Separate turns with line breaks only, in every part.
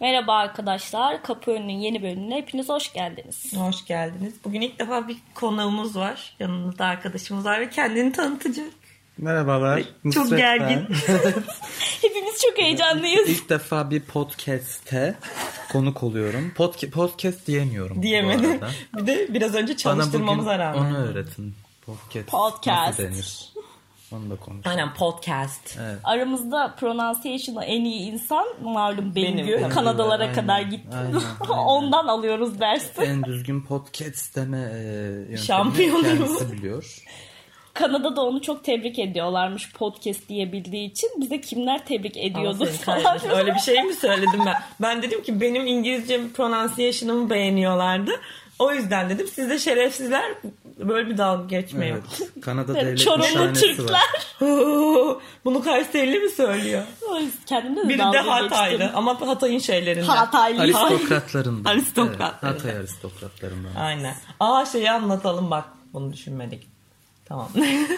Merhaba arkadaşlar. Kapı Önü'nün yeni bölümüne hepiniz hoş geldiniz.
Hoş geldiniz. Bugün ilk defa bir konuğumuz var. Yanımızda arkadaşımız var ve kendini tanıtacak.
Merhabalar. Nusret
Çok gergin.
ben.
Hepimiz çok heyecanlıyız.
İlk defa bir podcast'te konuk oluyorum. Podca- podcast diyemiyorum. bu
Diyemedim.
arada.
bir de biraz önce
Bana bugün
çalıştırmamıza rağmen.
onu öğretin. Podcast.
Podcast.
Nasıl denir? Onu da konuş.
Aynen podcast.
Evet.
Aramızda pronunciation'ı en iyi insan malum Bengü.
Benim.
Kanadalara
Aynen,
kadar gitti.
aynen, aynen.
Ondan alıyoruz dersi.
En düzgün podcast deme e, yöntemini
Şampiyonuyum.
kendisi biliyor.
Kanada'da onu çok tebrik ediyorlarmış podcast diyebildiği için. Bize kimler tebrik ediyordu
Aferin
falan.
kardeşim. Öyle bir şey mi söyledim ben? Ben dedim ki benim İngilizce pronunciation'ımı beğeniyorlardı. O yüzden dedim siz de şerefsizler böyle bir dalga geçmeyin.
Evet. Kanada devlet
Çorumlu
nişanesi var.
Türkler.
Bunu Kayserili mi söylüyor?
Kendimle de
Biri de
dalga
Hataylı
geçtim.
ama Hatay'ın şeylerinden.
Hataylı.
Aristokratlarından.
Aristokratlarından.
Evet, Hatay aristokratlarından.
Aynen. Aa şeyi anlatalım bak. Bunu düşünmedik. Tamam.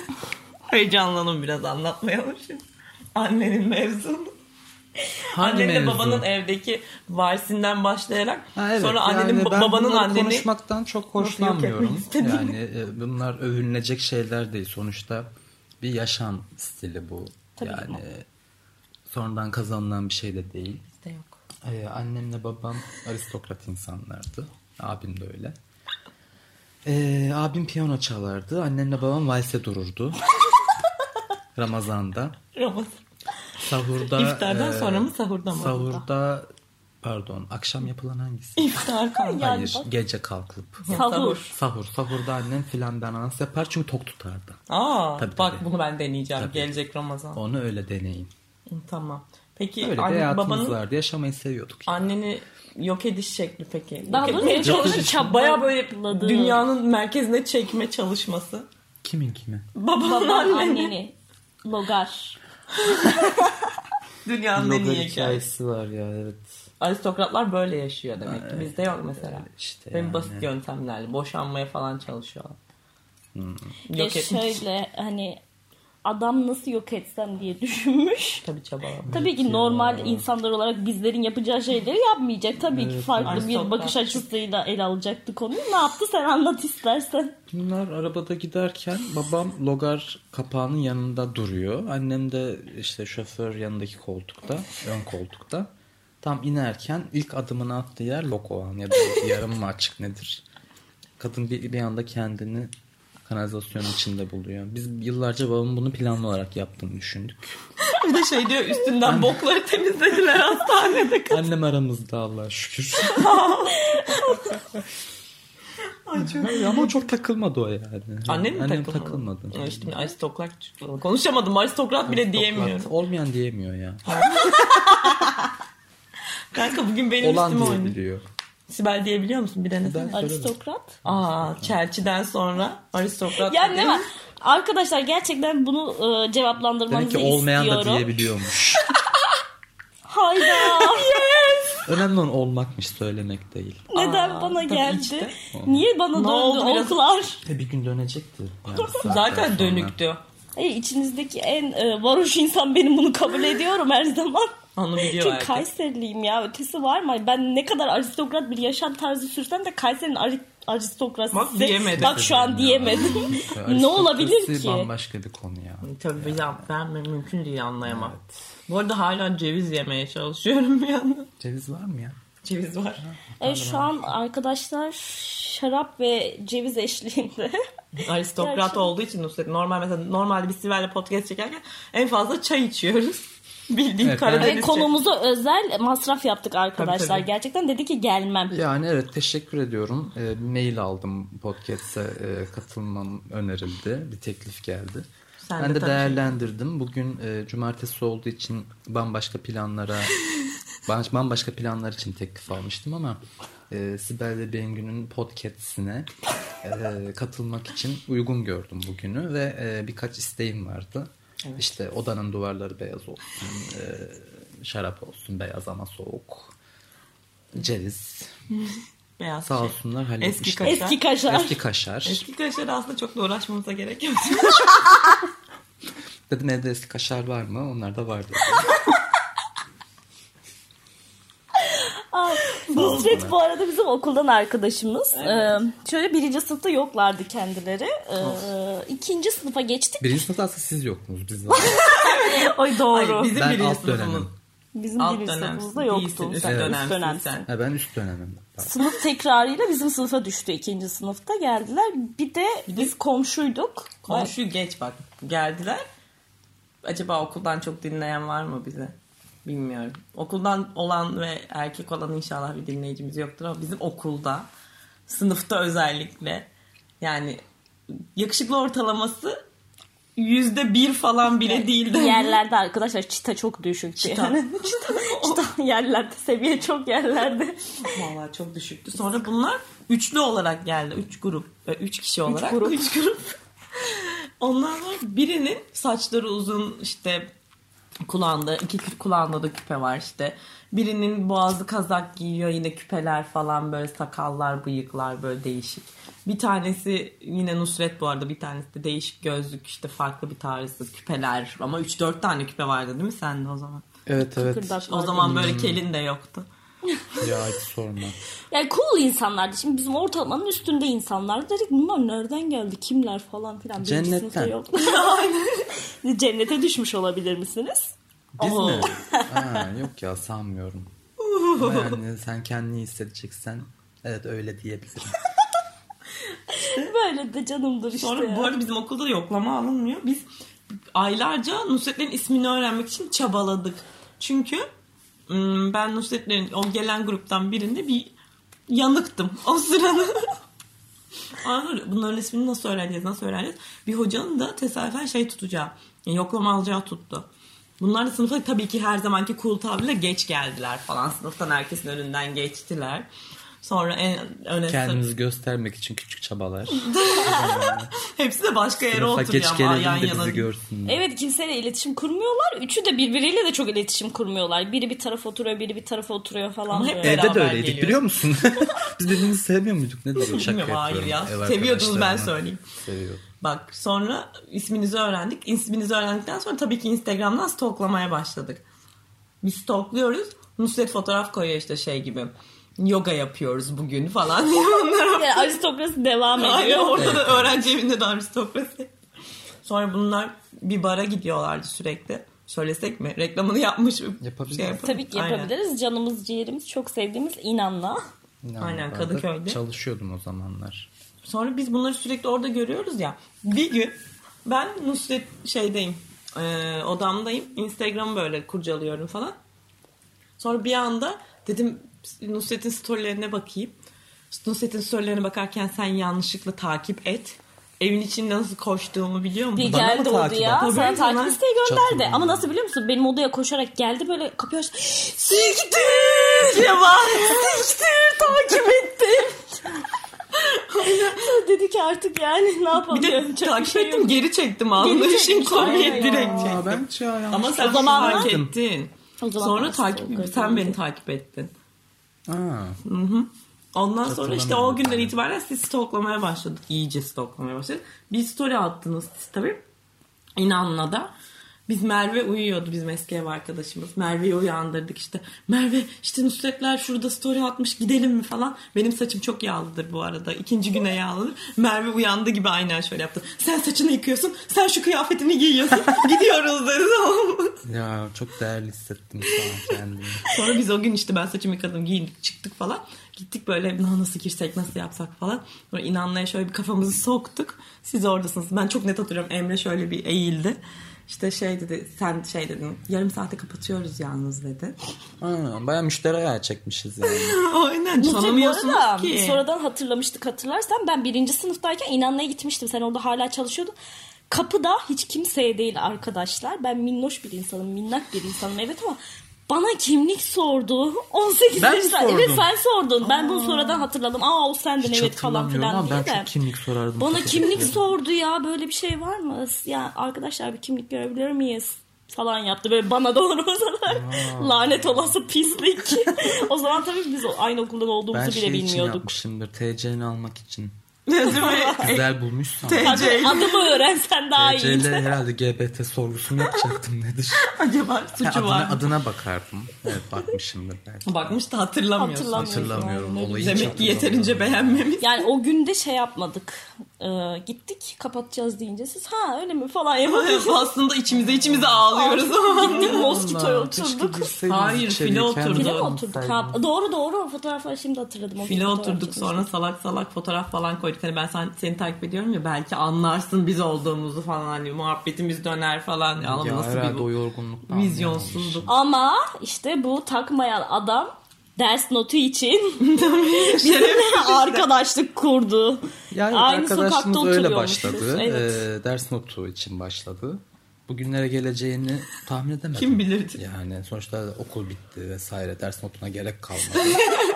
Heyecanlanın biraz anlatmayalım şimdi. Annenin mevzunu.
Hangi
Annenle
mevzu?
babanın evdeki varisinden başlayarak
Ha, evet.
sonra annenin
Yani
ba-
ben
babanın
bunları
anneni
konuşmaktan çok
yok etmek
hoşlanmıyorum.
istediğini.
Yani e, bunlar övünülecek şeyler değil sonuçta. Bir yaşam stili bu.
Tabii ki
yani sonradan kazanılan bir şey de değil.
De yok.
Ee, annemle babam aristokrat insanlardı. Abim de öyle. Ee, abim piyano çalardı. Annemle babam valse dururdu. Ramazan'da.
Ramazan.
Sahurda
İftardan
e,
sonra mı sahurda mı?
Sahurda pardon akşam yapılan hangisi?
İftar kaldı.
Yani
Hayır
bak-
gece kalkıp.
Sahur.
Sahur. Sahurda annem filan ananas yapar çünkü tok tutardı.
Aa
Tabii,
bak
tabii.
bunu ben deneyeceğim
Tabii.
gelecek Ramazan.
Onu öyle deneyin.
Tamam. Peki
Öyle bir
anne,
hayatımız
babanın
vardı. Yaşamayı seviyorduk.
anneni yok ediş şekli peki.
Daha
Yok
doğrusu
etmeye
yok ediş
çalışış-
şekli.
Bayağı böyle
Çapladı.
dünyanın merkezine çekme çalışması.
Kimin kimi?
Babanın
Baban
anneni.
anneni. Logar.
Dünyanın en iyi
Logar
hikayesi.
hikayesi var ya evet.
Aristokratlar böyle yaşıyor demek ki. Bizde yok mesela.
işte
Benim
yani.
basit yöntemlerle boşanmaya falan çalışıyorlar.
Hmm.
Ya
Yok etmiş.
E, şöyle hani adam nasıl yok etsem diye düşünmüş.
Tabii çabalamam.
Tabii ki normal insanlar olarak bizlerin yapacağı şeyleri yapmayacak. Tabii ki farklı bir
Aristokrat.
bakış açısıyla ele alacaktı konuyu. Ne yaptı sen anlat istersen.
Bunlar arabada giderken babam logar kapağının yanında duruyor. Annem de işte şoför yanındaki koltukta, ön koltukta. Tam inerken ilk adımını attığı yer Lokoan ya da yarım mı açık nedir? Kadın bir, bir anda kendini kanalizasyonun içinde buluyor. Biz yıllarca babamın bunu planlı olarak yaptığını düşündük.
Bir de şey diyor üstünden bokları temizlediler hastanede.
Annem aramızda Allah'a şükür. Hayır, ama o çok takılmadı o yani.
Annen mi
Annem
takılmadı?
takılmadı.
Ya İşte aristokrat. Konuşamadım aristokrat bile diyemiyorum.
Toplat- Olmayan diyemiyor ya.
Kanka bugün benim
Olan
üstüme oynuyor.
diyebiliyor.
Sibel diyebiliyor musun? Bir denesene.
Ben söylemedim.
Aristokrat.
Aa Çelçi'den sonra aristokrat.
Ya ne var? Arkadaşlar gerçekten bunu e, cevaplandırmanızı
Demek ki olmayan da
istiyorum.
diyebiliyormuş.
Hayda.
Önemli olan olmakmış söylemek değil.
Neden
Aa,
bana
tabii
geldi?
işte.
Niye bana döndü
oldu biraz?
oklar?
E bir gün dönecekti. Yani saatler
Zaten
sonra.
dönüktü.
Hayır içinizdeki en e, varoş insan benim bunu kabul ediyorum her zaman.
Onu biliyor
Çünkü
herkes.
Kayseriliyim ya ötesi var mı? Hani Ben ne kadar aristokrat bir yaşam tarzı sürsem de Kayseri'nin ari- aristokrasisi.
Bak diyemedim.
Bak şu an
Ya,
diyemedim.
aristokrasi
ne olabilir ki?
Bambaşka bir konu ya.
Tabii bir cevap vermem mümkün değil anlayamam. Bu arada hala ceviz yemeye çalışıyorum bir yandan.
Ceviz var mı ya?
Ceviz var.
E, şu an arkadaşlar şarap ve ceviz eşliğinde.
Aristokrat
Gerçi-
olduğu için Nusret normal mesela normalde biz Sibel'le podcast çekerken en fazla çay içiyoruz. Bildiğin
Evet, ben-
Karadeniz
ve
çayı.
konumuza özel masraf yaptık arkadaşlar.
Tabii, tabii.
Gerçekten dedi ki gelmem.
Yani evet teşekkür ediyorum. E, bir mail aldım podcast'e e, katılmam önerildi. Bir teklif geldi.
Sen
ben
de
de,
tabii.
değerlendirdim. Bugün e, cumartesi olduğu için bambaşka planlara baş- bambaşka planlar için teklif almıştım ama e, Sibel ve Bengü'nün podcast'ine e, katılmak için uygun gördüm bugünü ve e, birkaç isteğim vardı. İşte odanın duvarları beyaz olsun, e, şarap olsun beyaz ama soğuk, ceviz,
Beyaz
Sağ
şey.
olsunlar
Eski
halletmişler.
kaşar.
Eski kaşar.
Eski kaşar.
Eski kaşar aslında çok da uğraşmamıza gerek yok.
Dedim evde eski kaşar var mı? Onlar da vardı.
Nusret bu arada bizim okuldan arkadaşımız. Ee, şöyle birinci sınıfta yoklardı kendileri. Ee, ikinci sınıfa geçtik.
Birinci sınıfta aslında siz yoktunuz. Biz var.
Ay doğru.
Hayır, bizim
Ben
birinci
alt
sınıfımız.
dönemim.
bizim
Alt
birinci
dönem.
sınıfımızda
Değilsin,
yoktu.
üst
Sen üst
dönemsin
dönemsin.
sen.
Ha, ben üst dönemim. Tamam.
Sınıf tekrarıyla bizim sınıfa düştü ikinci sınıfta geldiler. Bir de biz komşuyduk.
Komşuyu geç bak geldiler. Acaba okuldan çok dinleyen var mı bize? Bilmiyorum. Okuldan olan ve erkek olan inşallah bir dinleyicimiz yoktur ama bizim okulda sınıfta özellikle yani yakışıklı ortalaması yüzde bir falan bile değildi.
Yerlerde arkadaşlar çita çok düşük.
Çıta.
Çıta yerlerde seviye çok yerlerde.
Vallahi çok düşüktü. Sonra bunlar üçlü olarak geldi. Üç grup. e, Üç kişi olarak.
grup.
Üç grup. Onlar var. Birinin saçları uzun işte kulağında iki kü- kulağında da küpe var işte. Birinin boğazlı kazak giyiyor yine küpeler falan böyle sakallar bıyıklar böyle değişik. Bir tanesi yine Nusret bu arada bir tanesi de değişik gözlük işte farklı bir tarzı küpeler ama 3-4 tane küpe vardı değil mi sende o zaman?
Evet evet.
Kırdak
O
vardı.
zaman böyle kelin de yoktu.
Ya hiç sorma.
Yani cool insanlardı. Şimdi bizim ortalamanın üstünde insanlardı. Dedik bunlar nereden geldi? Kimler falan filan. Birinci
Cennetten.
sınıfta yok. Cennete düşmüş olabilir misiniz?
Biz
Oo.
mi? Ha, yok ya sanmıyorum. Ama yani sen kendini hissedeceksen evet öyle diyebilirim.
Böyle de canımdır işte.
Sonra
ya.
bu arada bizim okulda da yoklama alınmıyor. Biz aylarca Nusretlerin ismini öğrenmek için çabaladık. Çünkü ım, ben Nusretlerin o gelen gruptan birinde bir yanıktım o sırada. Anladın mı? Bunların ismini nasıl öğreneceğiz, nasıl öğreneceğiz? Bir hocanın da tesadüfen şey tutacağı, yani yoklama alacağı tuttu. Bunlar da sınıfa tabii ki her zamanki cool tavrıyla geç geldiler falan. Sınıftan herkesin önünden geçtiler. Sonra en öne
Kendinizi göstermek için küçük çabalar.
Hepsi de başka yere
Sınıfa
oturuyor
geç
ama
gelelim
yan
de
yana
bizi görsünler.
Evet kimseyle iletişim kurmuyorlar. Üçü de birbiriyle de çok iletişim kurmuyorlar. Biri bir tarafa oturuyor, biri bir tarafa oturuyor falan.
Ama hep
böyle.
beraber
Evde de öyleydik
geliyoruz.
biliyor musun? Biz birbirimizi sevmiyor muyduk? Ne diyor? Şaka
Bilmiyorum, hayır
yapıyorum.
ya.
Ev
Seviyordunuz, ben
arkadaşlarımla.
söyleyeyim.
Seviyordum.
Bak sonra isminizi öğrendik. İsminizi öğrendikten sonra tabii ki Instagram'dan stoklamaya başladık. Biz stokluyoruz. Nusret fotoğraf koyuyor işte şey gibi. Yoga yapıyoruz bugün falan diye bunlara.
Yani aristokrasi devam
Aynen
ediyor.
orada da öğrenci evinde de aristokrasi. Sonra bunlar bir bara gidiyorlardı sürekli. Söylesek mi? Reklamını yapmış. bir şey
Yapabiliriz.
yapalım.
Tabii ki
Aynen.
yapabiliriz. Canımız, ciğerimiz, çok sevdiğimiz inanla.
Yani
Aynen,
ben de
Kadıköy'de.
Çalışıyordum o zamanlar.
Sonra biz bunları sürekli orada görüyoruz ya. Bir gün ben Nusret şeydeyim. e, odamdayım. Instagram'ı böyle kurcalıyorum falan. Sonra bir anda dedim Nusret'in storylerine bakayım. Nusret'in storylerine bakarken sen yanlışlıkla takip et. Evin içinde nasıl koştuğumu biliyor musun?
Bir
Bana mı
geldi oldu
takip
ya.
ediyor?
Sana
Tabii,
takip
bana-
isteği gönderdi.
Çatırdım.
Ama nasıl biliyor musun? Benim odaya koşarak geldi böyle kapıyı açtı.
Siktir! diye bağırdı.
Siktir takip ettim. Sonra dedi ki artık yani ne yapalım.
Bir de
yapacak
takip
şey
ettim
yok.
geri çektim alnı.
Geri
işin
çekmiş,
komiği
aynen.
direkt çektim.
Aa, ben çağ yanlış.
şey-
şey
Ama sen
O zamanlar-
fark ettin.
O zaman
Sonra
nasıl
takip
oldu?
sen beni takip ettin.
Aa,
Ondan sonra işte o
Hatırlamıyorum.
günden itibaren siz stoklamaya başladık. İyice stoklamaya başladık. Bir story attınız siz tabii. İnanla da. Biz Merve uyuyordu bizim eski ev arkadaşımız. Merve'yi uyandırdık işte. Merve işte Nusretler şurada story atmış gidelim mi falan. Benim saçım çok yağlıdır bu arada. İkinci güne yağlıdır. Merve uyandı gibi aynen şöyle yaptı. Sen saçını yıkıyorsun. Sen şu kıyafetini giyiyorsun. Gidiyoruz dedi tamam mı?
ya çok değerli hissettim şu an kendimi.
Sonra biz o gün işte ben saçımı yıkadım giyindik çıktık falan. Gittik böyle "Lan nasıl girsek nasıl yapsak falan. Sonra inanmaya şöyle bir kafamızı soktuk. Siz oradasınız. Ben çok net hatırlıyorum Emre şöyle bir eğildi. İşte şey dedi sen şey dedin yarım saate kapatıyoruz yalnız dedi.
Aa, baya müşteri ayağı çekmişiz yani.
Aynen
Nusret bu arada
tanımıyorsunuz ki.
Sonradan hatırlamıştık hatırlarsan ben birinci sınıftayken inanmaya gitmiştim. Sen orada hala çalışıyordun. Kapıda hiç kimseye değil arkadaşlar. Ben minnoş bir insanım, minnak bir insanım evet ama bana kimlik sordu. 18
Ben mi
yaşında.
sordum?
Evet sen sordun. Ben bunu sonradan hatırladım. Aa o sendin
Hiç
evet falan
hatırlamıyorum
filan
ama
diye
ben
de.
çok kimlik sorardım.
Bana
Çok
kimlik
hatırlıyorum.
sordu ya böyle bir şey var mı? Ya arkadaşlar bir kimlik görebilir miyiz? falan yaptı böyle bana doğru uzanan lanet olası pislik. o zaman tabii biz o- aynı okuldan olduğumuzu
Ben
bile
şey için
bilmiyorduk.
yapmışımdır. TC'ni almak için.
Rezüme
Güzel bulmuşsan.
Tabii
TC.
adımı öğrensen daha iyi.
TC'de herhalde LGBT sorgusunu yapacaktım nedir?
Acaba
Ha,
suçu var
adına,
mı?
adına bakardım. Evet bakmışımdır belki.
Bakmış da hatırlamıyorsun.
Hatırlamıyorum.
Hatırlamıyorum olayı. hiç
Demek ki
hatırlamıyorum.
yeterince beğenmemiş.
Yani o günde şey yapmadık. Ee, gittik kapatacağız deyince siz ha öyle mi falan yapıyorsunuz.
Aslında içimize içimize ağlıyoruz ama.
Gittik Moskito'ya
Allah, keşke
oturduk.
girseydiniz
Hayır,
içeriye,
file oturduk.
kendiniz
File mi
Doğru.
oturduk? Ha, doğru doğru o fotoğrafları şimdi hatırladım. O
File
fotoğraf
oturduk
çekmiştik.
sonra salak salak fotoğraf falan koyduk. Hani ben sen, seni takip ediyorum ya belki anlarsın biz olduğumuzu falan. Hani muhabbetimiz döner falan. Ya,
Ya
nasıl
herhalde
bir
o
bu-
yorgunluktan.
vizyonsuzluk.
Ama işte bu takmayan adam ders notu için
Şerefsiz.
arkadaşlık kurdu.
Yani
Aynı sokakta
arkadaşımız öyle
oturuyormuşuz,
başladı.
evet.
Ee, ders notu için başladı. Bugünlere geleceğini tahmin edemedim.
Kim bilirdi?
Yani sonuçta okul bitti vesaire. Ders notuna gerek kalmadı.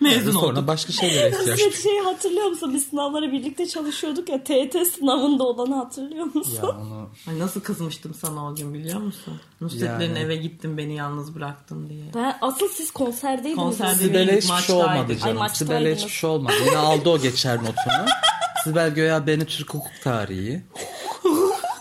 Mezun
Yani
olduk.
sonra başka şeylere Ee, ihtiyaç
Siz şey hatırlıyor musun? Biz sınavlara birlikte çalışıyorduk ya. TET sınavında olanı hatırlıyor musun?
ya onu
Ay nasıl kızmıştım sana o gün biliyor musun? Nusretlerin
Yani.
eve gittim beni yalnız bıraktın diye.
Ben asıl siz konserdeydiniz.
Konserde-
Sibel'e hiçbir şey
Maçtaydık.
olmadı
Ay,
canım.
maçtaydınız.
Sibel'e hiçbir şey olmadı. Yine aldı o geçer notunu. Sibel Göya beni Türk hukuk tarihi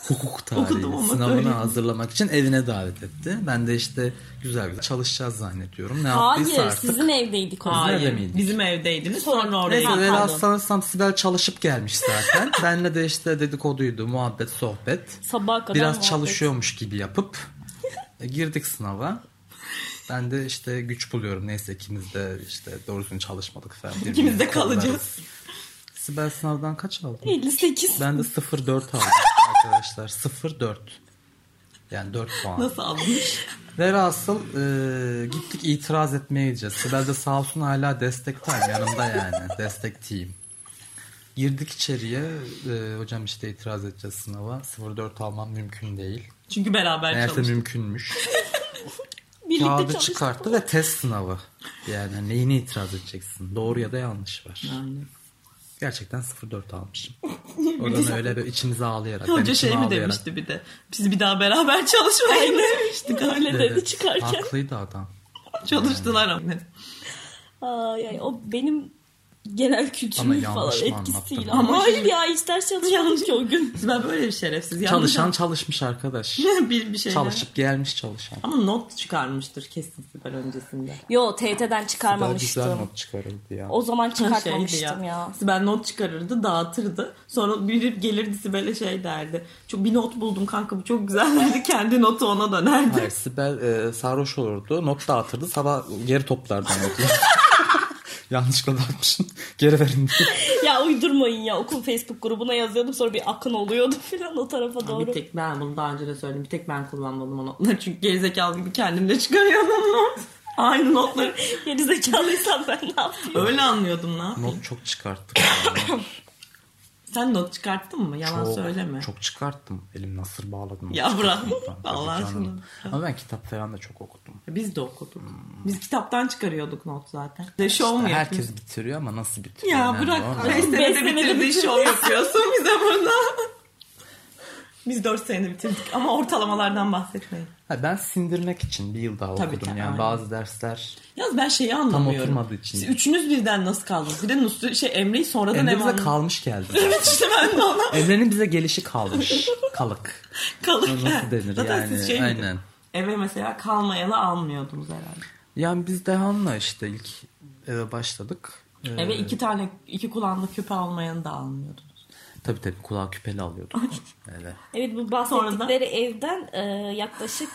hukuk
Okudum
tarihi
ama
sınavını
söyledim.
hazırlamak için evine davet etti. Ben de işte güzel güzel çalışacağız zannediyorum. Ne
Hayır
yaptıysa artık.
sizin evdeydik o zaman.
Hayır.
Hayır
miydik?
bizim evdeydiniz sonra oraya
Neyse
gittim.
ben
pardon.
sanırsam Sibel çalışıp gelmiş zaten. Benle de işte dedikoduydu, muhabbet, sohbet.
Sabaha kadar
Biraz
muhabbet.
çalışıyormuş gibi yapıp e, girdik sınava. Ben de işte güç buluyorum. Neyse ikimiz de işte doğrusunu çalışmadık falan.
İkimiz de
Birbirimizi kollarız.
kalacağız.
Sibel sınavdan kaç aldın?
58.
Ben de 0.4 aldım arkadaşlar. 0.4. Yani 4 puan.
Nasıl almış?
Velhasıl e, gittik itiraz etmeye gideceğiz. Sibel de sağ olsun hala destekten yanımda yani. Destekteyim. Girdik içeriye. E, hocam işte itiraz edeceğiz sınava. 04 almam mümkün değil.
Çünkü beraber
Meğerse
çalıştık.
mümkünmüş.
Birlikte
Kağıdı
çalıştık.
çıkarttı ve test sınavı. Yani hani neyine itiraz edeceksin? Doğru ya da yanlış var.
Yani.
Gerçekten 04 almışım. Oradan öyle böyle içimize ağlayarak. ben
Hoca
içime
şey mi
ağlayarak.
demişti bir de. Biz bir daha beraber çalışmayın demişti.
Öyle
Evet,
dedi çıkarken.
Haklıydı adam.
Çalıştılar ama.
Ay, ay, o benim genel
Ama
kültürüm
yanlış
falan
mı anlattım?
etkisiyle.
Ama
Ama hayır ya hiç ders çalışmadım ki o gün.
Biz ben böyle bir şerefsiz. yanlış
Çalışan çalışmış arkadaş.
bir, bir şeyler.
Çalışıp gelmiş çalışan.
Ama not çıkarmıştır kesin Sibel öncesinde.
Yo TET'den çıkarmamıştım.
çıkarıldı ya.
O zaman çıkartmamıştım
Şeydi
ya.
Şey Sibel not çıkarırdı dağıtırdı. Sonra biri gelirdi Sibel'e şey derdi. Çok bir not buldum kanka bu çok güzel derdi. Kendi notu ona dönerdi.
Hayır Sibel e, sarhoş olurdu. Not dağıtırdı. Sabah geri toplardı notları. Yanlışlıkla dağıtmışsın. Geri verin diye.
Ya uydurmayın ya okul Facebook grubuna yazıyordum sonra bir akın oluyordu filan o tarafa doğru.
Bir tek ben bunu daha önce de söyledim. Bir tek ben kullanmadım o notları. Çünkü gerizekalı gibi kendimle çıkarıyordum not. Aynı notları.
Geri zekalıysam ben ne yapayım?
Öyle anlıyordum lan.
Not çok çıkarttık. ya.
Sen not çıkarttın mı? Yalan
çok,
söyleme.
Çok çıkarttım. Elim nasır bağladım.
Ya bırak.
Çıkarttım ben.
Allah
Tabii canım.
aşkına.
Ama ben kitap falan da çok okudum.
Biz de okuduk. Biz kitaptan çıkarıyorduk not zaten. De şov mu yapıyorsun?
Herkes bitiriyor ama nasıl bitiriyor?
Ya
önemli
bırak.
olan.
5 senede
senede
bitirdiği
bitirdi.
şov yapıyorsun bize burada. Biz 4 senede bitirdik ama ortalamalardan bahsetmeyin.
Ha, ben sindirmek için bir yıl daha
Tabii
okudum.
ki,
yani
aynen.
bazı dersler
Yalnız ben şeyi anlamıyorum.
oturmadığı için.
Siz üçünüz birden nasıl kaldınız? Bir de Nusret şey Emre'yi sonradan
Emre
ev
bize
aldı.
kalmış geldi.
İşte ben de ona
Emre'nin bize gelişi kalmış. Kalık.
kalırken.
Nasıl denir
Zaten
yani?
siz şey miydiniz?
Aynen.
Eve mesela kalmayalı almıyordunuz herhalde.
Yani biz Dehan'la işte ilk eve başladık. Ee,
Eve iki tane iki kulağında küpe almayanı da almıyordunuz.
Tabii tabii kulağı küpeli alıyorduk. evet.
Evet bu
Sonra
bahsettikleri evden e, yaklaşık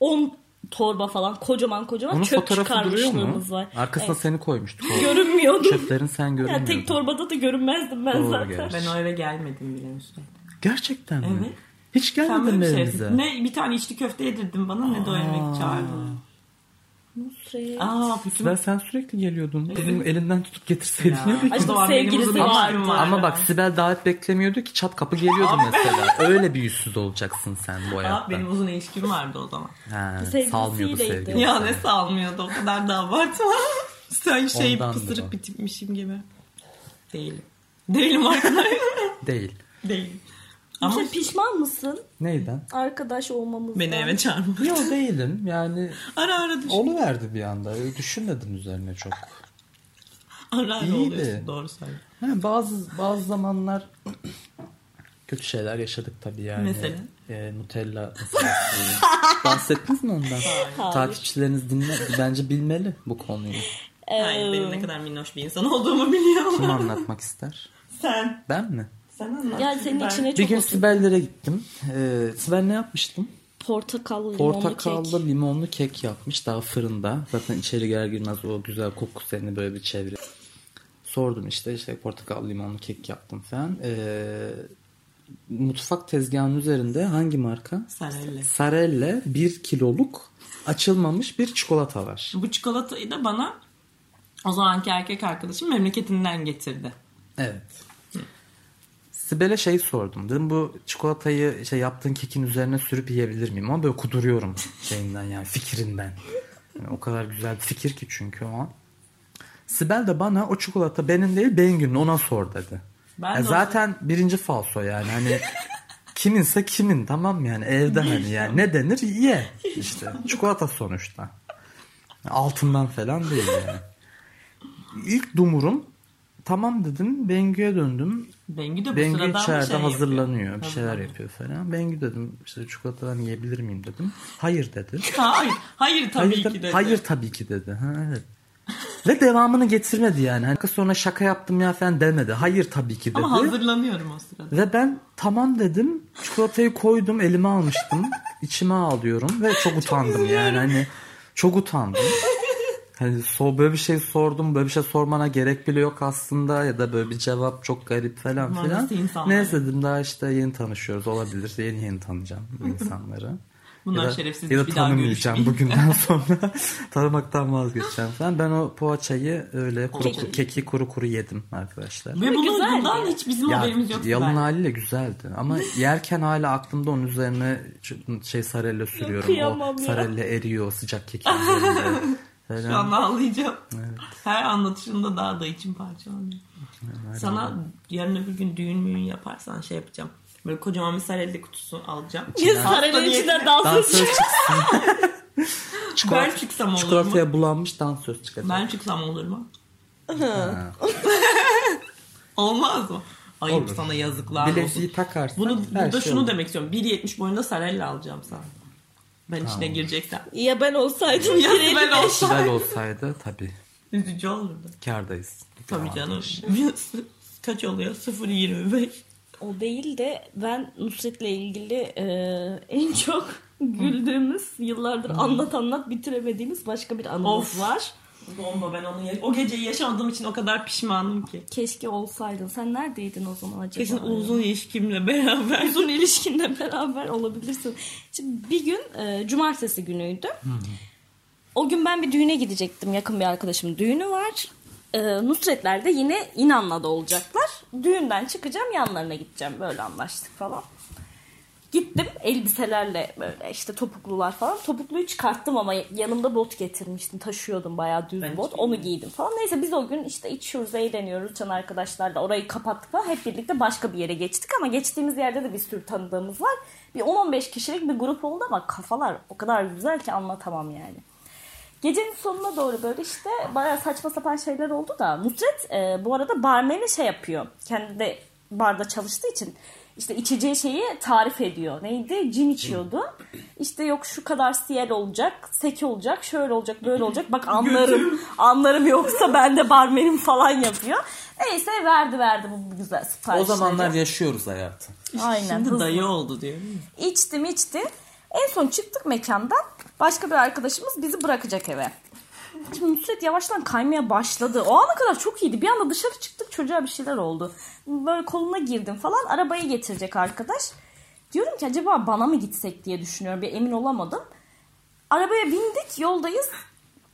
10 torba falan kocaman kocaman
Onun
çöp
fotoğrafı duruyor mu?
çıkarmışlığımız var.
Arkasına
Evet.
seni koymuştuk. O
Görünmüyordum.
çöplerin sen
Ya
görünmüyordun.
tek torbada da görünmezdim ben
Doğru
zaten.
gerçi.
Ben o eve gelmedim bile Nusret.
Gerçekten mi?
Evet.
Hiç
Sen
gelmedin
böyle
mi
bir şey
evimize?
yaptın. Ne bir tane içli köfte yedirdin bana ne de o yemek çağırdın.
Nusret.
Aa bütün
Sibel sen sürekli geliyordun. Bizim elinden tutup getirseydin.
Ya.
ya.
O
Aşkım
zaman benim
sevgilisi
uzun
vardı.
ilişkim var
Ama
ya.
bak Sibel davet beklemiyordu ki çat kapı geliyordu mesela. Öyle bir yüzsüz olacaksın sen
Aa,
bu hayatta.
benim uzun ilişkim vardı o zaman.
Ha,
Sevgilisiyleydi.
salmıyordu sevgili.
Ya ne salmıyordu o kadar da abartma. Sen şey
Ondandır
pısırık
o.
bir tipmişim gibi. Değilim. Değilim arkadaş.
Değil.
Değilim. Ama
Nusret, pişman mısın
Neyden?
arkadaş olmamızdan?
beni eve çağırma.
Yok değilim yani
Ara ara düşün.
Oluverdi verdi bir anda. Öyle Düşünmedim üzerine çok.
Ara ara
İyiydi.
oluyorsun doğru söylüyorsun.
Ha, bazı bazı zamanlar kötü şeyler yaşadık tabii yani.
Mesela?
Ee, Nutella meselesi. Bahsettiniz mi ondan? Takipçileriniz dinle, bence bilmeli bu konuyu.
Hayır benim ne kadar minnoş bir insan olduğumu biliyorum.
Kim anlatmak ister?
Sen.
Ben mi?
Sen anlat.
Ya senin
Ben-
içine
Bir
çok
gün
otur-
Sibel'lere gittim. Ee, Sibel ne yapmıştım?
portakallı,
Portakallı
limonlu kek.
limonlu kek yapmış daha fırında. Zaten içeri girer girmez o güzel koku seni böyle bir çevre. Sordum işte işte portakallı limonlu kek yaptım falan. Ee, mutfak tezgahının üzerinde hangi marka?
Sarelle.
Sarelle 1 kiloluk açılmamış bir çikolata var.
Bu çikolatayı da bana o zamanki erkek arkadaşım memleketinden getirdi.
Evet. Sibel'e şey sordum. Dedim bu çikolatayı işte yaptığın kekin üzerine sürüp yiyebilir miyim? Ama böyle kuduruyorum şeyinden yani fikrinden. Yani o kadar güzel bir fikir ki çünkü o an. Sibel de bana o çikolata benim değil Bengü'nün ona sor dedi.
Ben
Ya
de
zaten birinci falso yani hani kiminse kimin tamam mı yani evde hani yani ne denir ye işte çikolata sonuçta. Altından falan değil yani. İlk dumurum tamam dedim Bengü'ye döndüm.
Bengü de bu
Bengü
sıradan
içeride
bir şey
hazırlanıyor
yapıyor.
bir şeyler yapıyor falan. Bengü dedim işte çikolatadan yiyebilir miyim dedim. Hayır dedi.
Ha, hayır, hayır tabii
hayır,
ki
tabii-
dedi.
Hayır tabii ki dedi. Ha, evet. Ve devamını getirmedi yani. Hani sonra şaka yaptım ya falan demedi. Hayır tabii ki dedi.
Ama hazırlanıyorum o sırada.
Ve ben tamam dedim. Çikolatayı koydum elime almıştım. İçime alıyorum ve çok utandım yani. Hani çok utandım. Hani so böyle bir şey sordum. Böyle bir şey sormana gerek bile yok aslında ya da böyle bir cevap çok garip falan
Ulan
filan.
nasıl insanlar?
Neyse dedim daha işte yeni tanışıyoruz olabilir. Yeni yeni tanıyacağım bu insanları.
Bunlar
Ya da-
şerefsiz,
Ya da
bir daha
tanımayacağım
görüşmeyeyim.
bugünden sonra. Tanımaktan vazgeçeceğim falan. Ben o poğaçayı öyle kuru,
Keki.
keki kuru kuru yedim arkadaşlar.
Ve bunun
güzeldi.
bundan hiç bizim
Ya,
haberimiz yok.
yalın
Sibel.
haliyle güzeldi ama yerken hala aklımda onun üzerine ç- şey sarelle sürüyorum.
kıyamam
o
ya.
sarelle eriyor o sıcak kekin üzerinde.
Şu an
Falan.
ağlayacağım. Her anlatışında daha da içim parçalanıyor. Sana yarın öbür gün düğün müğün yaparsan şey yapacağım. Böyle kocaman bir sarelli kutusu alacağım. Hasta
Sarayın
diye-
içinden dans
Dansöz
ediyor.
çıksın.
Ben çıksam olur mu?
Çikolataya bulanmış dansöz çıkacak.
Ben çıksam olur mu? Olmaz mı? Ayıp
Olur.
sana yazıklar olsun.
Bileziği takarsın.
Bunu
her
burada
şey
şunu
olur.
demek istiyorum. 1.70 boyunda sarella alacağım sana. Ben içine gireceksem.
Ya ben olsaydım
Ya
yere
ben olsam.
Güzel olsaydı tabii
Üzücü olurdu.
kardayız.
Tabii canım. Kaç oluyor? 0.25.
O değil de ben Nusret'le ilgili e, en çok güldüğümüz, yıllardır anlat anlat bitiremediğimiz başka bir anımız
Of.
var.
Bomba ben onu ya- o geceyi yaşamadığım için o kadar pişmanım ki.
Keşke olsaydın. Sen neredeydin o zaman acaba?
Kesin uzun ilişkimle beraber.
uzun ilişkinle beraber olabilirsin. Şimdi bir gün e, cumartesi günüydü. O gün ben bir düğüne gidecektim. Yakın bir arkadaşımın düğünü var. E, Nusretler de yine İnanla'da olacaklar. Düğünden çıkacağım yanlarına gideceğim. Böyle anlaştık falan. Gittim elbiselerle böyle işte topuklular falan. Topukluyu çıkarttım ama yanımda bot getirmiştim. Taşıyordum bayağı düz
Ben hiç
bot. Onu giydim falan. Neyse biz o gün işte içiyoruz, eğleniyoruz. Can arkadaşlarla orayı kapattık falan. Hep birlikte başka bir yere geçtik ama geçtiğimiz yerde de bir sürü tanıdığımız var. Bir 10-15 kişilik bir grup oldu ama kafalar o kadar güzel ki anlatamam yani. Gecenin sonuna doğru böyle işte bayağı saçma sapan şeyler oldu da Nusret e, bu arada barmeni şey yapıyor. Kendi de barda çalıştığı için işte içeceği şeyi tarif ediyor. Neydi? Cin içiyordu. İşte yok şu kadar siyel olacak, seki olacak, şöyle olacak, böyle olacak. Bak anlarım, anlarım yoksa ben de barmenim falan yapıyor. Neyse verdi verdi bu güzel
O
siparişleri.
zamanlar yaşıyoruz hayatı.
Aynen,
Şimdi
hızlı.
dayı oldu diyor.
İçtim içtim. En son çıktık mekandan. Başka bir arkadaşımız bizi bırakacak eve. Şimdi Nusret yavaştan kaymaya başladı. O ana kadar çok iyiydi. Bir anda dışarı çıktık çocuğa bir şeyler oldu. Böyle koluna girdim falan. Arabayı getirecek arkadaş. Diyorum ki acaba bana mı gitsek diye düşünüyorum. Bir emin olamadım. Arabaya bindik yoldayız.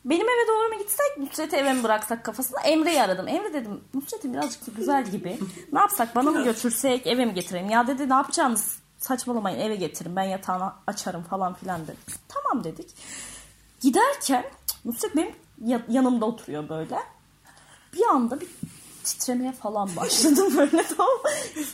Benim eve doğru mu gitsek Nusret'i eve mi bıraksak kafasına? Emre'yi aradım. Emre dedim Nusret'im birazcık da güzel gibi. Ne yapsak bana mı götürsek eve mi getirelim? Ya dedi ne yapacağınız saçmalamayın eve getirin ben yatağını açarım falan filan dedi. Tamam dedik. Giderken cık, Nusret benim ya- yanımda oturuyor böyle. Bir anda bir titremeye falan başladım böyle tamam mı?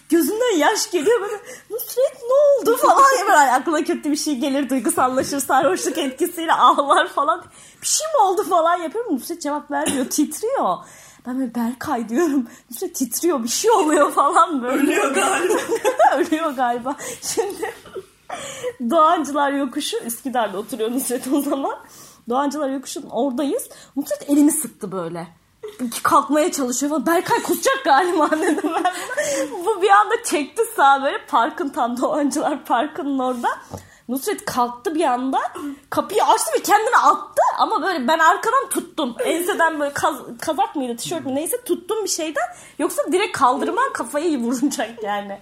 Gözümden yaş geliyor böyle Nusret ne oldu falan diye böyle hani aklına kötü bir şey gelir duygusallaşır sarhoşluk etkisiyle ağlar falan. Bir şey mi oldu falan yapıyorum Nusret cevap vermiyor titriyor. Ben böyle Berkay diyorum. Nusret titriyor bir şey oluyor falan böyle.
Ölüyor galiba.
Ölüyor galiba. Şimdi Doğancılar Yokuşu Üsküdar'da oturuyor Nusret o zaman. Doğancılar Yokuşu'nun oradayız. Nusret elimi sıktı böyle. Kalkmaya çalışıyor falan. Berkay kusacak galiba dedim ben. Bu bir anda çekti sağa böyle parkın tam Doğancılar Parkı'nın orada. Nusret kalktı bir anda kapıyı açtı ve kendini attı ama böyle ben arkadan tuttum. Enseden böyle kaz, kazak mıydı tişört mü neyse tuttum bir şeyden yoksa direkt kaldırman kafayı vuracak yani.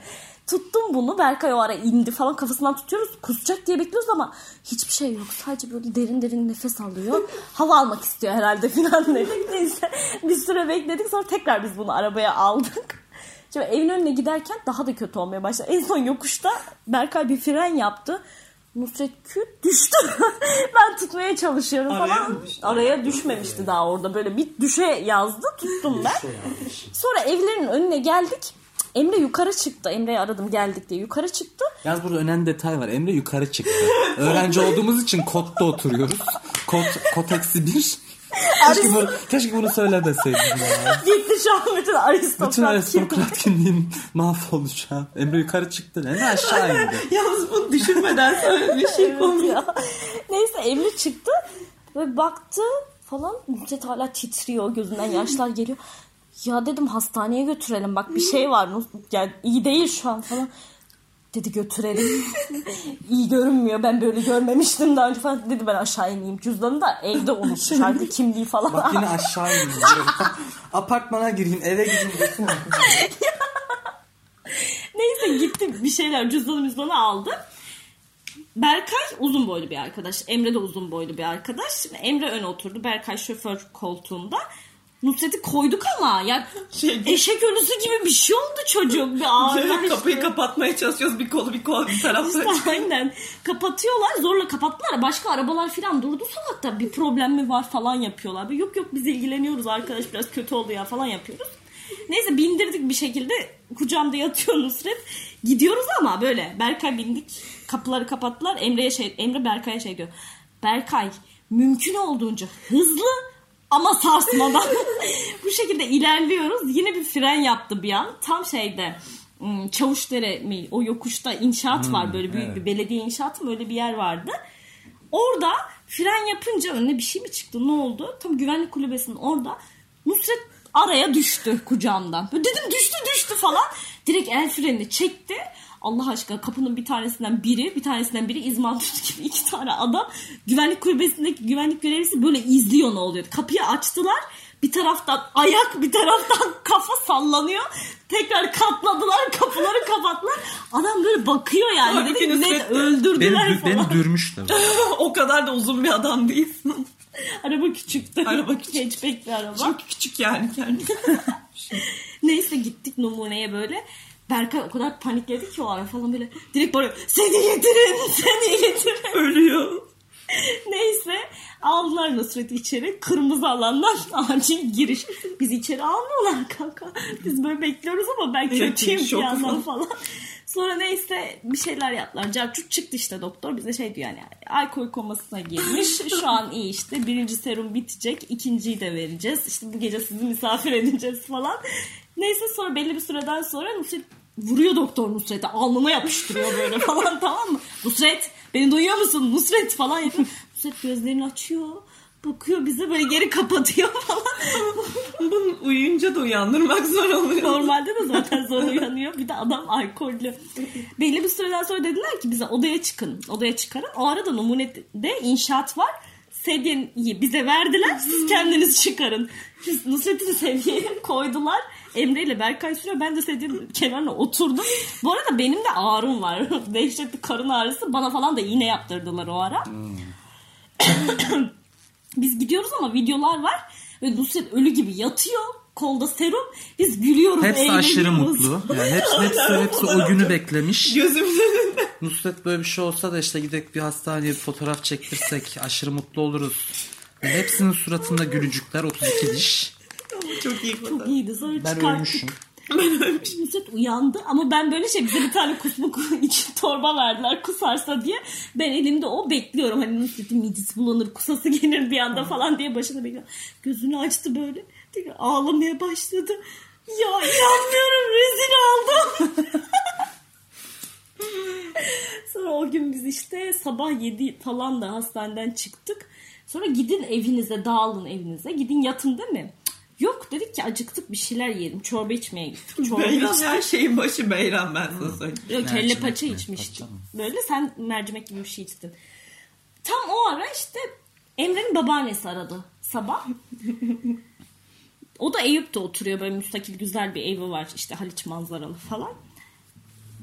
Tuttum bunu Berkay o ara indi falan kafasından tutuyoruz kusacak diye bekliyoruz ama hiçbir şey yok sadece böyle derin derin nefes alıyor hava almak istiyor herhalde filan dedik neyse bir süre bekledik sonra tekrar biz bunu arabaya aldık. Şimdi evin önüne giderken daha da kötü olmaya başladı. En son yokuşta Berkay bir fren yaptı. Nusret küt düştü. ben tutmaya çalışıyorum
Araya
falan.
mı düştü?
Araya düşmemişti daha orada. Böyle bir düşe yazdı. Tuttum ben. Sonra evlerin önüne geldik. Emre yukarı çıktı. Emre'yi aradım geldik diye. Yukarı çıktı.
Yalnız burada önemli detay var. Emre yukarı çıktı. Öğrenci olduğumuz için kotta oturuyoruz. Kot, kot eksi bir. Keşke bunu, keşke bunu söylemeseydim ya.
Gitti şu an bütün aristokrat.
Bütün
kim-
aristokrat kimliğim mahvoldu şu an. Emre yukarı çıktı. Emre aşağı indi.
Yalnız bunu düşünmeden söylediği şey
Evet
komik.
ya. Neyse Emre çıktı ve baktı falan Nusret hala titriyor gözünden yaşlar geliyor. Ya dedim hastaneye götürelim bak bir şey var Nus- yani iyi değil şu an falan. Dedi götürelim. iyi görünmüyor ben böyle görmemiştim daha önce falan. Dedi ben aşağı ineyim cüzdanı da evde unutmuş halde kimliği falan.
Bak yine aşağı indi. Apartmana gireyim eve gideyim. desin.
Neyse gittim bir şeyler cüzdanı cüzdanı aldım. Berkay uzun boylu bir arkadaş. Emre de uzun boylu bir arkadaş. Şimdi Emre öne oturdu. Berkay şoför koltuğunda. Nusret'i koyduk ama ya
Şey-
eşek ölüsü gibi bir şey oldu çocuk. Bir ağırlar
Kapıyı kapatmaya çalışıyoruz bir kolu bir kolu bir tarafta.
işte aynen. Kapatıyorlar zorla kapattılar. Başka arabalar falan durdu sokakta. Bir problem mi var falan yapıyorlar. Böyle, yok yok biz ilgileniyoruz arkadaş biraz kötü oldu ya falan yapıyoruz. Neyse bindirdik bir şekilde. Kucağımda yatıyor Nusret. Gidiyoruz ama böyle Berkay bindik. Kapıları kapattılar. Emre'ye şey Emre Berkay'a şey diyor. Berkay mümkün olduğunca hızlı ama sarsmadan bu şekilde ilerliyoruz. Yine bir fren yaptı bir an. Tam şeyde ım, Çavuşdere mi o yokuşta inşaat var böyle büyük bir belediye inşaatı mı öyle bir yer vardı. Orada fren yapınca önüne bir şey mi çıktı ne oldu? Tam güvenlik kulübesinin orada Nusret araya düştü kucağımdan. Böyle dedim düştü düştü falan. Direkt el frenini çekti. Allah aşkına kapının bir tanesinden biri bir tanesinden biri izmantut gibi iki tane adam güvenlik kulübesindeki güvenlik görevlisi böyle izliyor ne oluyor. Kapıyı açtılar bir taraftan ayak bir taraftan kafa sallanıyor. Tekrar katladılar kapıları kapattılar. Adam böyle bakıyor yani.
Halbuki
Dedim, ne
Nusret de-
Beni,
öldürdüler
dü-
falan.
beni dürmüştü.
o kadar da uzun bir adam değilsin.
Araba küçüktü.
Araba küçük.
Hatchback bir araba.
Çünkü küçük yani kendisi.
Neyse gittik numuneye böyle. Berkay o kadar panikledi ki o ara falan böyle. Direkt bağırıyor. Seni getirin, seni getirin.
Ölüyor.
Neyse aldılar Nusret'i içeri. Kırmızı alandan acil giriş. Biz içeri almıyorlar kanka. Biz böyle bekliyoruz ama ben
Evet,
kötüyüm bir
şok
yandan
falan.
falan. Sonra neyse bir şeyler yaptılar. Cercut çıktı işte doktor bize şey diyor yani alkol komasına girmiş. Şu an iyi işte birinci serum bitecek ikinciyi de vereceğiz. İşte bu gece sizi misafir edeceğiz falan. Neyse sonra belli bir süreden sonra Nusret vuruyor doktor Nusret'e alnına yapıştırıyor böyle falan tamam mı? Nusret beni duyuyor musun? Nusret falan yapıyor. Nusret gözlerini açıyor bakıyor bize böyle geri kapatıyor falan.
Bunu uyuyunca da uyandırmak zor oluyor.
Normalde de zaten zor uyanıyor. Bir de adam alkollü. Belli bir süreden sonra dediler ki bize odaya çıkın. Odaya çıkarın. O arada numunede inşaat var. Sedyeyi bize verdiler. Siz kendiniz çıkarın. Biz Nusret'in sedyeye koydular. Emre ile Berkay sürüyor. Ben de sedyenin kenarına oturdum. Bu arada benim de ağrım var. Dehşetli karın ağrısı. Bana falan da iğne yaptırdılar o ara. Biz gidiyoruz ama videolar var. Ve Nusret ölü gibi yatıyor. Kolda serum. Biz gülüyoruz.
Hepsi aşırı
eğleniyoruz.
mutlu. Yani hepsi, hepsi, hepsi o günü beklemiş.
Gözümün önünde.
Nusret böyle bir şey olsa da işte gidip bir hastaneye bir fotoğraf çektirsek aşırı mutlu oluruz. Yani hepsinin suratında gülücükler 32 diş.
Çok iyi fotoğraf.
İyiydi sonra
Ben
çıkarttık.
ölmüşüm.
Nusret uyandı ama ben böyle şey bize bir tane kusmuk için torba verdiler kusarsa diye. Ben elimde o bekliyorum hani Nusret'in midesi bulanır kusası gelir bir anda falan diye başını bekliyorum. Gözünü açtı böyle Tekrar ağlamaya başladı. Ya inanmıyorum rezil oldum. Sonra o gün biz işte sabah 7 falan da hastaneden çıktık. Sonra gidin evinize dağılın evinize gidin yatın değil mi? Yok dedik ki acıktık bir şeyler yiyelim. Çorba içmeye gittik. Çorba
Beyran
içtik.
her şeyin başı Beyran ben sana söyleyeyim.
Yok, kelle
Mercimek
paça
mi?
içmiştim.
Paça mı?
Böyle sen mercimek gibi bir şey içtin. Tam o ara işte Emre'nin babaannesi aradı sabah. o da Eyüp'te oturuyor böyle müstakil güzel bir evi var işte Haliç manzaralı falan.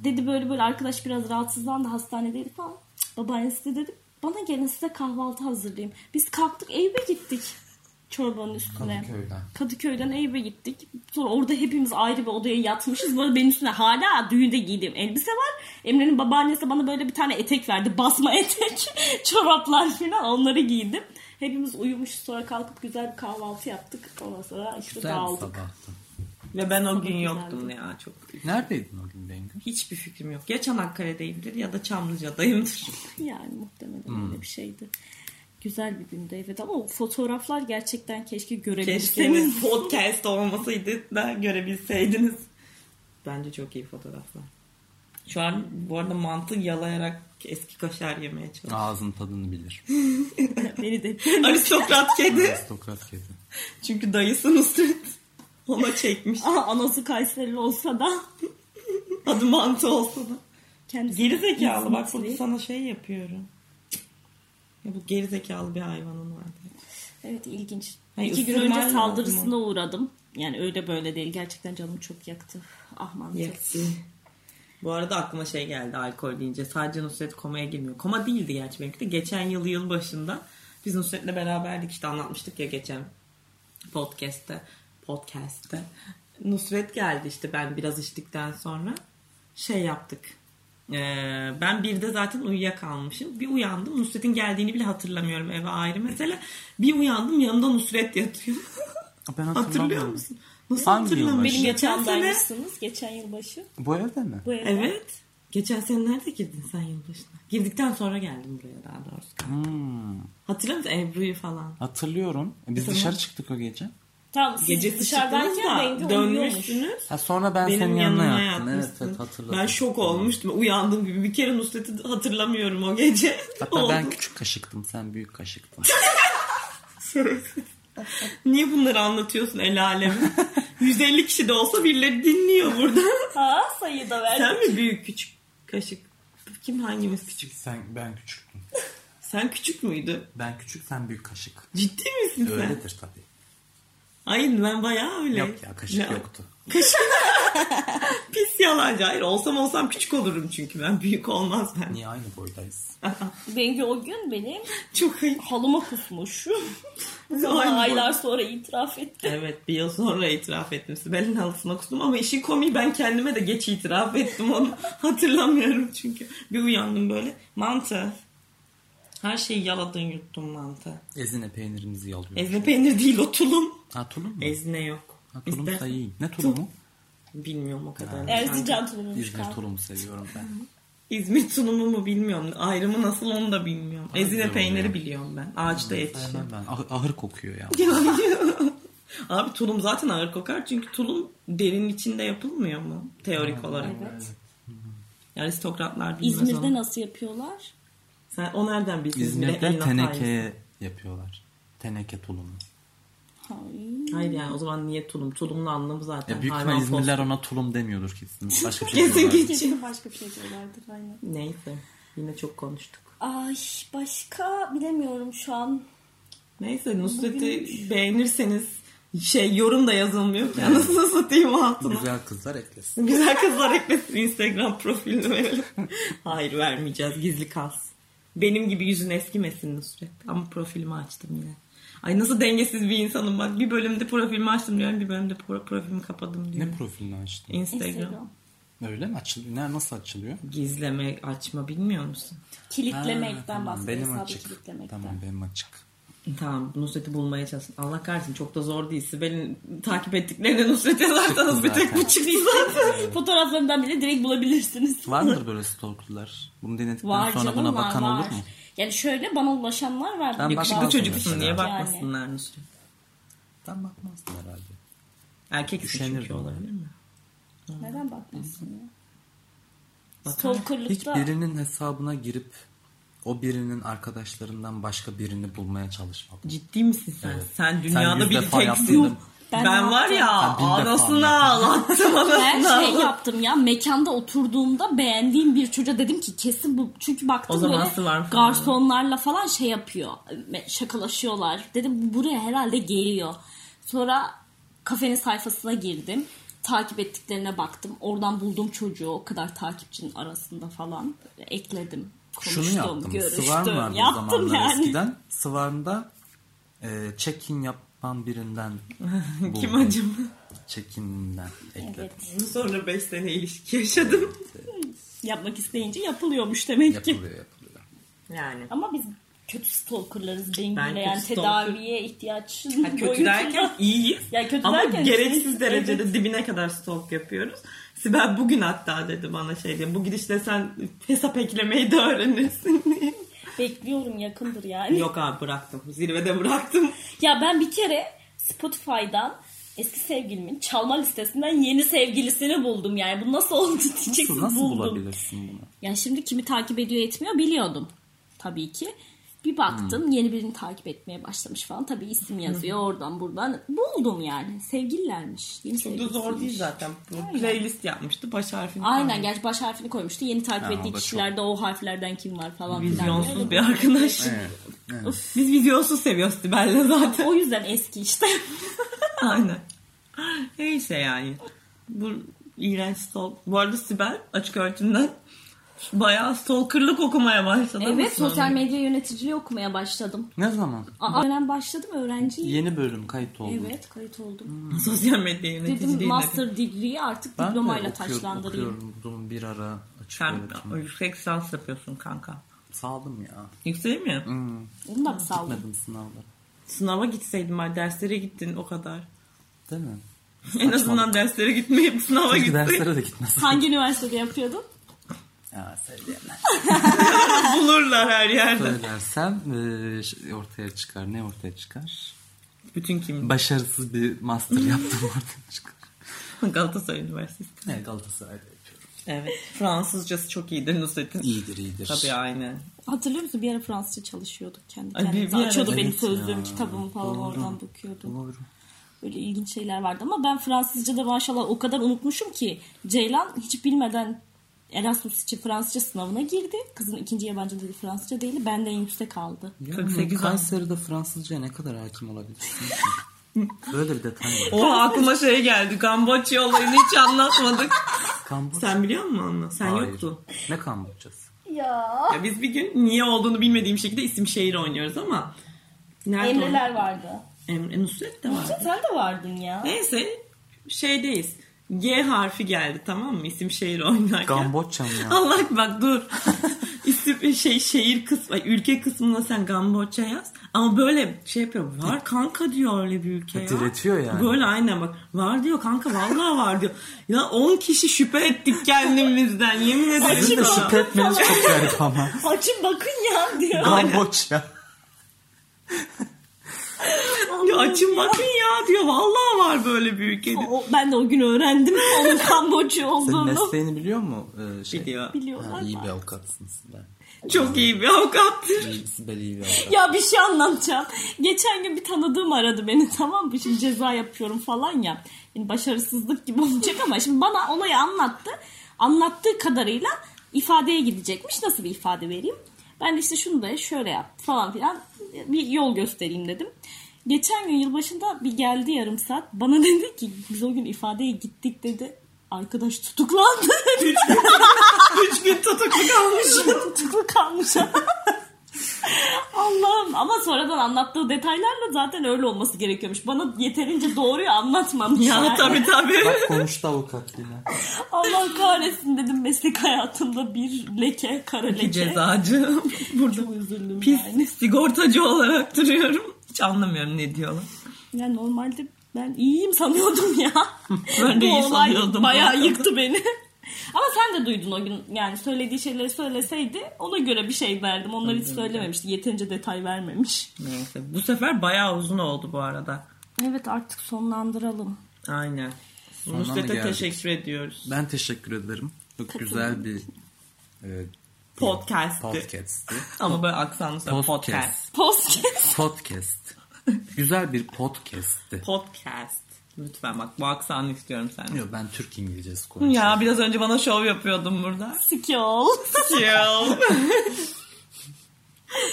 Dedi böyle böyle arkadaş biraz rahatsızlandı hastanedeydi falan. Cık, Babaannesi de dedi bana gelin size kahvaltı hazırlayayım. Biz kalktık Eyüp'e gittik çorbanın üstüne.
Kadıköy'den.
Kadıköy'den Eyüp'e gittik. Sonra orada hepimiz ayrı bir odaya yatmışız. Bu arada benim üstüne hala düğünde giydiğim elbise var. Emre'nin babaannesi bana böyle bir tane etek verdi. Basma etek, çoraplar falan onları giydim. Hepimiz uyumuşuz sonra kalkıp güzel bir kahvaltı yaptık. Ondan sonra işte
Güzel bir
dağıldık.
sabahtı.
Ve ben o gün
güzeldi.
yoktum ya çok.
Neredeydin o gün Bengü?
Hiçbir fikrim yok. Ya Çanakkale'deyimdir ya da Çamlıca'dayımdır.
Yani muhtemelen öyle bir şeydi. Güzel bir gündü evet ama o fotoğraflar gerçekten keşke görebilseniz.
Keşke podcast olmasaydı da görebilseydiniz. Bence çok iyi fotoğraflar. Şu an bu arada mantı yalayarak eski kaşar yemeye çalışıyorum.
Ağzın tadını bilir.
Beni de
Aristokrat kedi.
Aristokrat kedi.
Çünkü dayısı Nusret. Ona çekmiş.
Aa, anası Kayserili olsa da
Adı mantı olsa da.
kendisi
Geri zekalı bak burada
İzmitli.
sana şey yapıyorum. Ya bu geri zekalı bir hayvanın vardı.
Evet ilginç.
Hayır,
İki gün
ısırman
önce
lazım
saldırısına uğradım. Yani öyle böyle değil. Gerçekten canım çok yaktı. Ah mantı.
Yaktı. Bu arada aklıma şey geldi alkol deyince. Sadece Nusret komaya girmiyor. Koma değildi gerçi benimki de. Geçen yıl yıl başında biz Nusret'le beraberdik işte anlatmıştık ya geçen podcast'te. Podcast'te. Nusret geldi işte ben biraz içtikten sonra şey yaptık. Ee, ben bir de zaten uyuyakalmışım. Bir uyandım Nusret'in geldiğini bile hatırlamıyorum eve ayrı mesele. Bir uyandım yanında Nusret yatıyor.
Ben
Hatırlıyor musun? Nasıl
Hangi
hatırlamıyorum?
yılbaşı?
Benim geçen
sene
sene... Geçen yılbaşı.
Bu evde mi?
Bu evde.
Evet. Geçen sene nerede girdin sen yılbaşına? Girdikten sonra geldim buraya daha doğrusu.
Hmm,
Hatırlıyor musun Ebru'yu falan?
hatırlıyorum. E, Biz
Tamam.
dışarı çıktık o gece.
Tamam siz
Gece
dışarıdayken
dışarıdayken
Bengi
da
dönmüş.
dönmüşsünüz.
Ha sonra ben
Benim
senin
yanıma
yanına yattım. Evet,
yatmışsın.
evet hatırladım.
Ben şok olmuştum. Uyandım gibi. Bir kere Nusret'i hatırlamıyorum o gece.
Hatta ben
Oldu.
küçük kaşıktım, sen büyük kaşıktın.
Niye bunları anlatıyorsun el aleme? 150 kişi de olsa birileri dinliyor burada.
Ha sayı da verdim.
Sen mi büyük küçük kaşık? Kim hangimiz küçük?
sen ben küçüktüm.
Sen küçük müydü?
Ben küçük, sen büyük kaşık.
Ciddi misin sen?
Öyledir tabii.
Hayır ben bayağı öyle.
Yok ya kaşık
Ya,
yoktu.
Pis yalancı. Hayır olsam olsam küçük olurum çünkü ben. Büyük olmaz ben.
Niye aynı boydayız?
Bengi o gün benim
Çok ayıp.
halıma kusmuş.
Ay, bu-
Sonra aylar sonra itiraf etti.
Evet bir yıl sonra itiraf ettim. Sibel'in halısına kustum ama işin komiği ben kendime de geç itiraf ettim onu. Hatırlamıyorum çünkü. Bir uyandım böyle. Mantı. Her şeyi yaladın yuttum mantı.
Ezine peynirimizi yalıyor.
Ezme peynir değil o tulum.
ha tulum mu?
Ezne yok.
ha, tulum
İstersen-
da iyi. Ne tulumu?
Bilmiyorum o kadar.
Erzincan tulumuymuş
İzmir
kanka.
tulumu seviyorum ben.
İzmir tulumu mu bilmiyorum. Ayrımı nasıl onu da bilmiyorum. Ezine
güzel
peyniri
oluyor.
biliyorum ben. Ağaçta yetişiyor.
Sevmem ben. Ah- ahır kokuyor ya.
Abi tulum zaten ağır kokar çünkü tulum derin içinde yapılmıyor mu teorik olarak?
Evet.
Yani aristokratlar bilmez
İzmir'de
onu.
nasıl yapıyorlar?
Sen o nereden bilsin?
İzmir'de
Eline sahip.
tenekeye yapıyorlar. Teneke tulumu.
Hayır.
Hayır yani o zaman niye tulum? Tulumun anlamı zaten.
Ya büyük
hayvan
ihtimal İzmirliler
tostu.
ona tulum demiyordur kesin. Başka bir şey
Kesin
diyorlar.
geçin.
Kesin başka bir şey diyorlardır aynen.
Neyse yine çok konuştuk.
Ay başka bilemiyorum şu an.
Neyse Nusret'i beğenirseniz şey yorum da yazılmıyor ki anasını satayım altına. Güzel.
Güzel kızlar eklesin.
kızlar eklesin Instagram profilini verelim. Hayır vermeyeceğiz gizli kalsın. Benim gibi yüzün eskimesin Nusret. Ama profilimi açtım yine. Ay nasıl dengesiz bir insanım bak. Bir bölümde profilimi açtım diyorum bir bölümde pro- profilimi kapadım diyorum.
Ne profilini açtın?
Instagram.
Instagram.
Öyle mi açılıyor? Ne- Nasıl açılıyor?
Gizleme açma bilmiyor musun?
Kilitlemekten
Ha, tamam.
bahsediyor.
Benim
hesabı
açık.
kilitlemekten.
Tamam benim açık.
Tamam Nusret'i bulmaya çalışın. Allah kahretsin çok da zor değil. Sibel'in takip ettiklerine Nusret yazarsanız bir tek bu çıktı zaten.
Fotoğraflarından bile direkt bulabilirsiniz.
Var mıdır böyle stalkerlar? Bunu denedikten
Var
sonra
canım
buna
var,
bakan
var.
olur mu?
Yani şöyle bana ulaşanlar var.
Ben
Yok,
başka
bazı-
Yakışıklı çocuksun diye
mesela.
bakmasınlar Nusret.
Ben bakmazdım herhalde.
Erkeksin
Üşenir
çünkü
bana.
olabilir mi?
Neden bakmıyorsun ya?
Bakar.
Stalkerlıkta
Hiç birinin hesabına girip o birinin arkadaşlarından başka birini bulmaya çalışmadım.
Ciddi misin sen?
Evet.
Sen
Sen
dünyada
yüz
bir
defa
teksin.
yaptın.
Ben
Ben,
yaptım.
var ya
Sen bin defa yaptın.
anasını ağlattım
ben
anasını
şey
ağlattım.
yaptım ya mekanda oturduğumda beğendiğim bir çocuğa dedim ki kesin bu çünkü
O
baktım
zaman
böyle
sı var falan.
garsonlarla falan şey yapıyor me- şakalaşıyorlar dedim bu buraya herhalde geliyor sonra kafenin sayfasına girdim takip ettiklerine baktım oradan bulduğum çocuğu o kadar takipçinin arasında falan ekledim konuştum
Şunu yaptım.
görüştüm
Sıvarm vardı o
yaptım
zamanlar
yani
eskiden. Sıvarm'da e, check-in yapan birinden buldum.
Kim acım?
Check-in'inden ekledim.
Evet.
Sonra 5 sene ilişki yaşadım.
yapmak isteyince yapılıyormuş demek ki
Yapılıyor yapılıyor.
Yani.
Ama biz kötü stalkerlarız benim
Ben
gibi.
kötü
yani
stalker-
tedaviye ihtiyacın
Ha, kötü
boyutunda-
derken iyiyiz.
Ya kötü
Ama
derken
gereksiz
iyiyiz,
derecede dibine kadar stalk yapıyoruz. Sibel bugün hatta dedi bana şey diye. Bu gidişle sen hesap eklemeyi de öğrenirsin diye.
Bekliyorum yakındır yani.
Yok abi bıraktım. Zirvede bıraktım.
Ya ben bir kere Spotify'dan eski sevgilimin çalma listesinden yeni sevgilisini buldum yani. Bu nasıl oldu diyeceksin
Nasıl, nasıl
buldum.
bulabilirsin bunu?
Ya şimdi kimi takip ediyor etmiyor biliyordum tabii ki. Bir baktım
Hmm.
yeni birini takip etmeye başlamış falan. Tabii isim yazıyor oradan buradan. Buldum yani. Sevgililermiş. Yeni
Bu da
sevgilisiymiş.
zor değil zaten. Bu Playlist yapmıştı. Baş harfini.
Aynen gerçi baş harfini koymuştu. Yeni takip
Ha, o
ettiği
da
kişilerde o harflerden kim var falan filan.
Vizyonsuz bir arkadaş.
Evet.
Biz vizyonsuz seviyoruz Sibel'le zaten.
O yüzden eski işte.
Aynen. Neyse yani. Bu iğrenç stalk. Bu arada Sibel açık öğretimden bayağı stalkerlık okumaya başladı.
evet
Nasıl
sosyal
oldu?
medya yöneticiliği okumaya başladım.
Ne zaman?
Aa, öğren başladım öğrenciyim.
Yeni Hmm. bölüm kayıt oldu.
Evet kayıt oldum.
Sosyal medya yöneticiliği.
Dedim
ne?
master degree'yi artık
Ben de
diplomayla
okuyor-
taşlandırayım.
okuyordum bir ara açık
Sen
öğretim.
yüksek lisans yapıyorsun kanka.
Saldım ya.
Yüksek mi?
Onu da mı saldın?
Gitmedim sınavlara.
Sınava gitseydin bari derslere gittin o kadar.
Değil mi?
en azından derslere gitmeyip sınava
Çünkü
gitseydin
derslere de gitmez.
Hangi üniversitede yapıyordun?
Ya söyleyemem.
bulurlar her yerde.
Söylersem e, ş- ortaya çıkar. Ne ortaya çıkar?
Bütün kim?
Başarısız bir master yaptım ortaya çıkar.
Galatasaray Üniversitesi.
Ne Galatasaray'da yapıyorum.
Evet. Fransızcası çok iyidir Nusret'in.
İyidir iyidir.
Tabii aynen.
Hatırlıyor musun? Bir ara Fransızca çalışıyorduk kendi
Ay, bir-
kendimize.
bir ara-
Açıyordu benim
Evet
sözlüğüm,
ya,
kitabımı falan oradan bakıyordum.
Doğru.
Böyle ilginç şeyler vardı ama ben Fransızca da maşallah o kadar unutmuşum ki Ceylan hiç bilmeden Erasmus için Fransızca sınavına girdi. Kızın ikinci yabancı dili Fransızca değil, benden yüksek aldı.
Ya,
48
Kayseri'de Fransızcaya ne kadar hakim olabilirsin? ki? Böyle bir detay var.
Oha aklıma şey geldi. Kamboçya olayını hiç anlatmadık.
Kamboçya.
Sen biliyor musun onu? Sen
Hayır.
yoktun.
Ne Kamboçyası?
Ya.
Ya biz bir gün niye olduğunu bilmediğim şekilde isim şehir oynuyoruz ama. Nerede
Emreler vardı.
o- Emre Nusret de var.
Sen de vardın ya.
Neyse şeydeyiz. G harfi geldi tamam mı? İsim şehir oynarken.
Kamboçya mı ya?
Allah bak dur. İsim şey şehir kısmı, ay, ülke kısmına sen Kamboçya yaz. Ama böyle şey yapıyor. Var kanka diyor öyle bir ülke ya.
Diretiyor yani.
Böyle aynen bak. Var diyor kanka vallahi var diyor. Ya 10 kişi şüphe ettik kendimizden. Yemin ederim.
Sizin de
sana.
şüphe etmeniz çok garip ama.
Açın bakın ya diyor.
Kamboçya.
Ya açın bakın ya diyor. Vallahi var böyle bir ülke. diyor.
O- ben de o gün öğrendim onun Kamboçya
Senin
olduğunu.
mesleğini biliyor mu? Ee, şey,
Biliyor.
Biliyorlar.
Ha, iyi bir
mı?
avukatsın Sibel.
Çok iyi bir avukattır.
İyi- Sibel iyi bir avukat.
Ya bir şey anlatacağım. Geçen gün bir tanıdığım aradı beni tamam mı? Şimdi ceza yapıyorum falan ya. Yani başarısızlık gibi olacak ama şimdi bana olayı anlattı. Anlattığı kadarıyla ifadeye gidecekmiş. Nasıl bir ifade vereyim? Ben de işte şunu da şöyle yap falan filan bir yol göstereyim dedim. Geçen gün yılbaşında bir geldi yarım saat. Bana dedi ki biz o gün ifadeye gittik dedi. Arkadaş tutuklandı dedi.
Üç gün tutuklu kalmış.
Tutuklu kalmış. Allah'ım ama sonradan anlattığı detaylarla zaten öyle olması gerekiyormuş. Bana yeterince doğruyu anlatmamış.
Ya
yani.
tabii tabii.
Bak konuştu avukat yine.
Allah kahretsin dedim meslek hayatımda bir leke, kara leke.
cezacı. Burada
Çok üzüldüm
pis
yani.
sigortacı olarak duruyorum. Hiç anlamıyorum ne diyorlar.
Ya normalde ben iyiyim sanıyordum ya.
Ben de
Bu
iyi
olay
sanıyordum.
bayağı yıktı beni. Ama sen de duydun o gün yani söylediği şeyleri söyleseydi ona göre bir şey derdim. Onları hiç söylememişti. Yeterince detay vermemiş.
Neyse bu sefer bayağı uzun oldu bu arada.
Evet artık sonlandıralım.
Aynen.
mı
Nusret'e
geldik?
teşekkür ediyoruz.
Ben teşekkür ederim. Çok güzel bir e,
Podcast'ti.
podcast'ti.
Ama böyle aksanlı söyle. Podcast.
Podcast.
Podcast.
Podcast. güzel bir podcast'ti.
Podcast. Lütfen bak bu aksanı istiyorum senden.
Yok ben Türk İngilizcesi konuşuyorum.
Ya biraz önce bana şov yapıyordun burada.
Sikiol.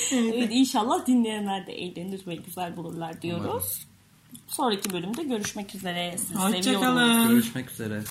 Chill.
evet, inşallah dinleyenler de eğlenir ve güzel bulurlar diyoruz. Sonraki bölümde görüşmek üzere. Sizi
Hoşça
seviyoruz.
kalın.
Görüşmek üzere.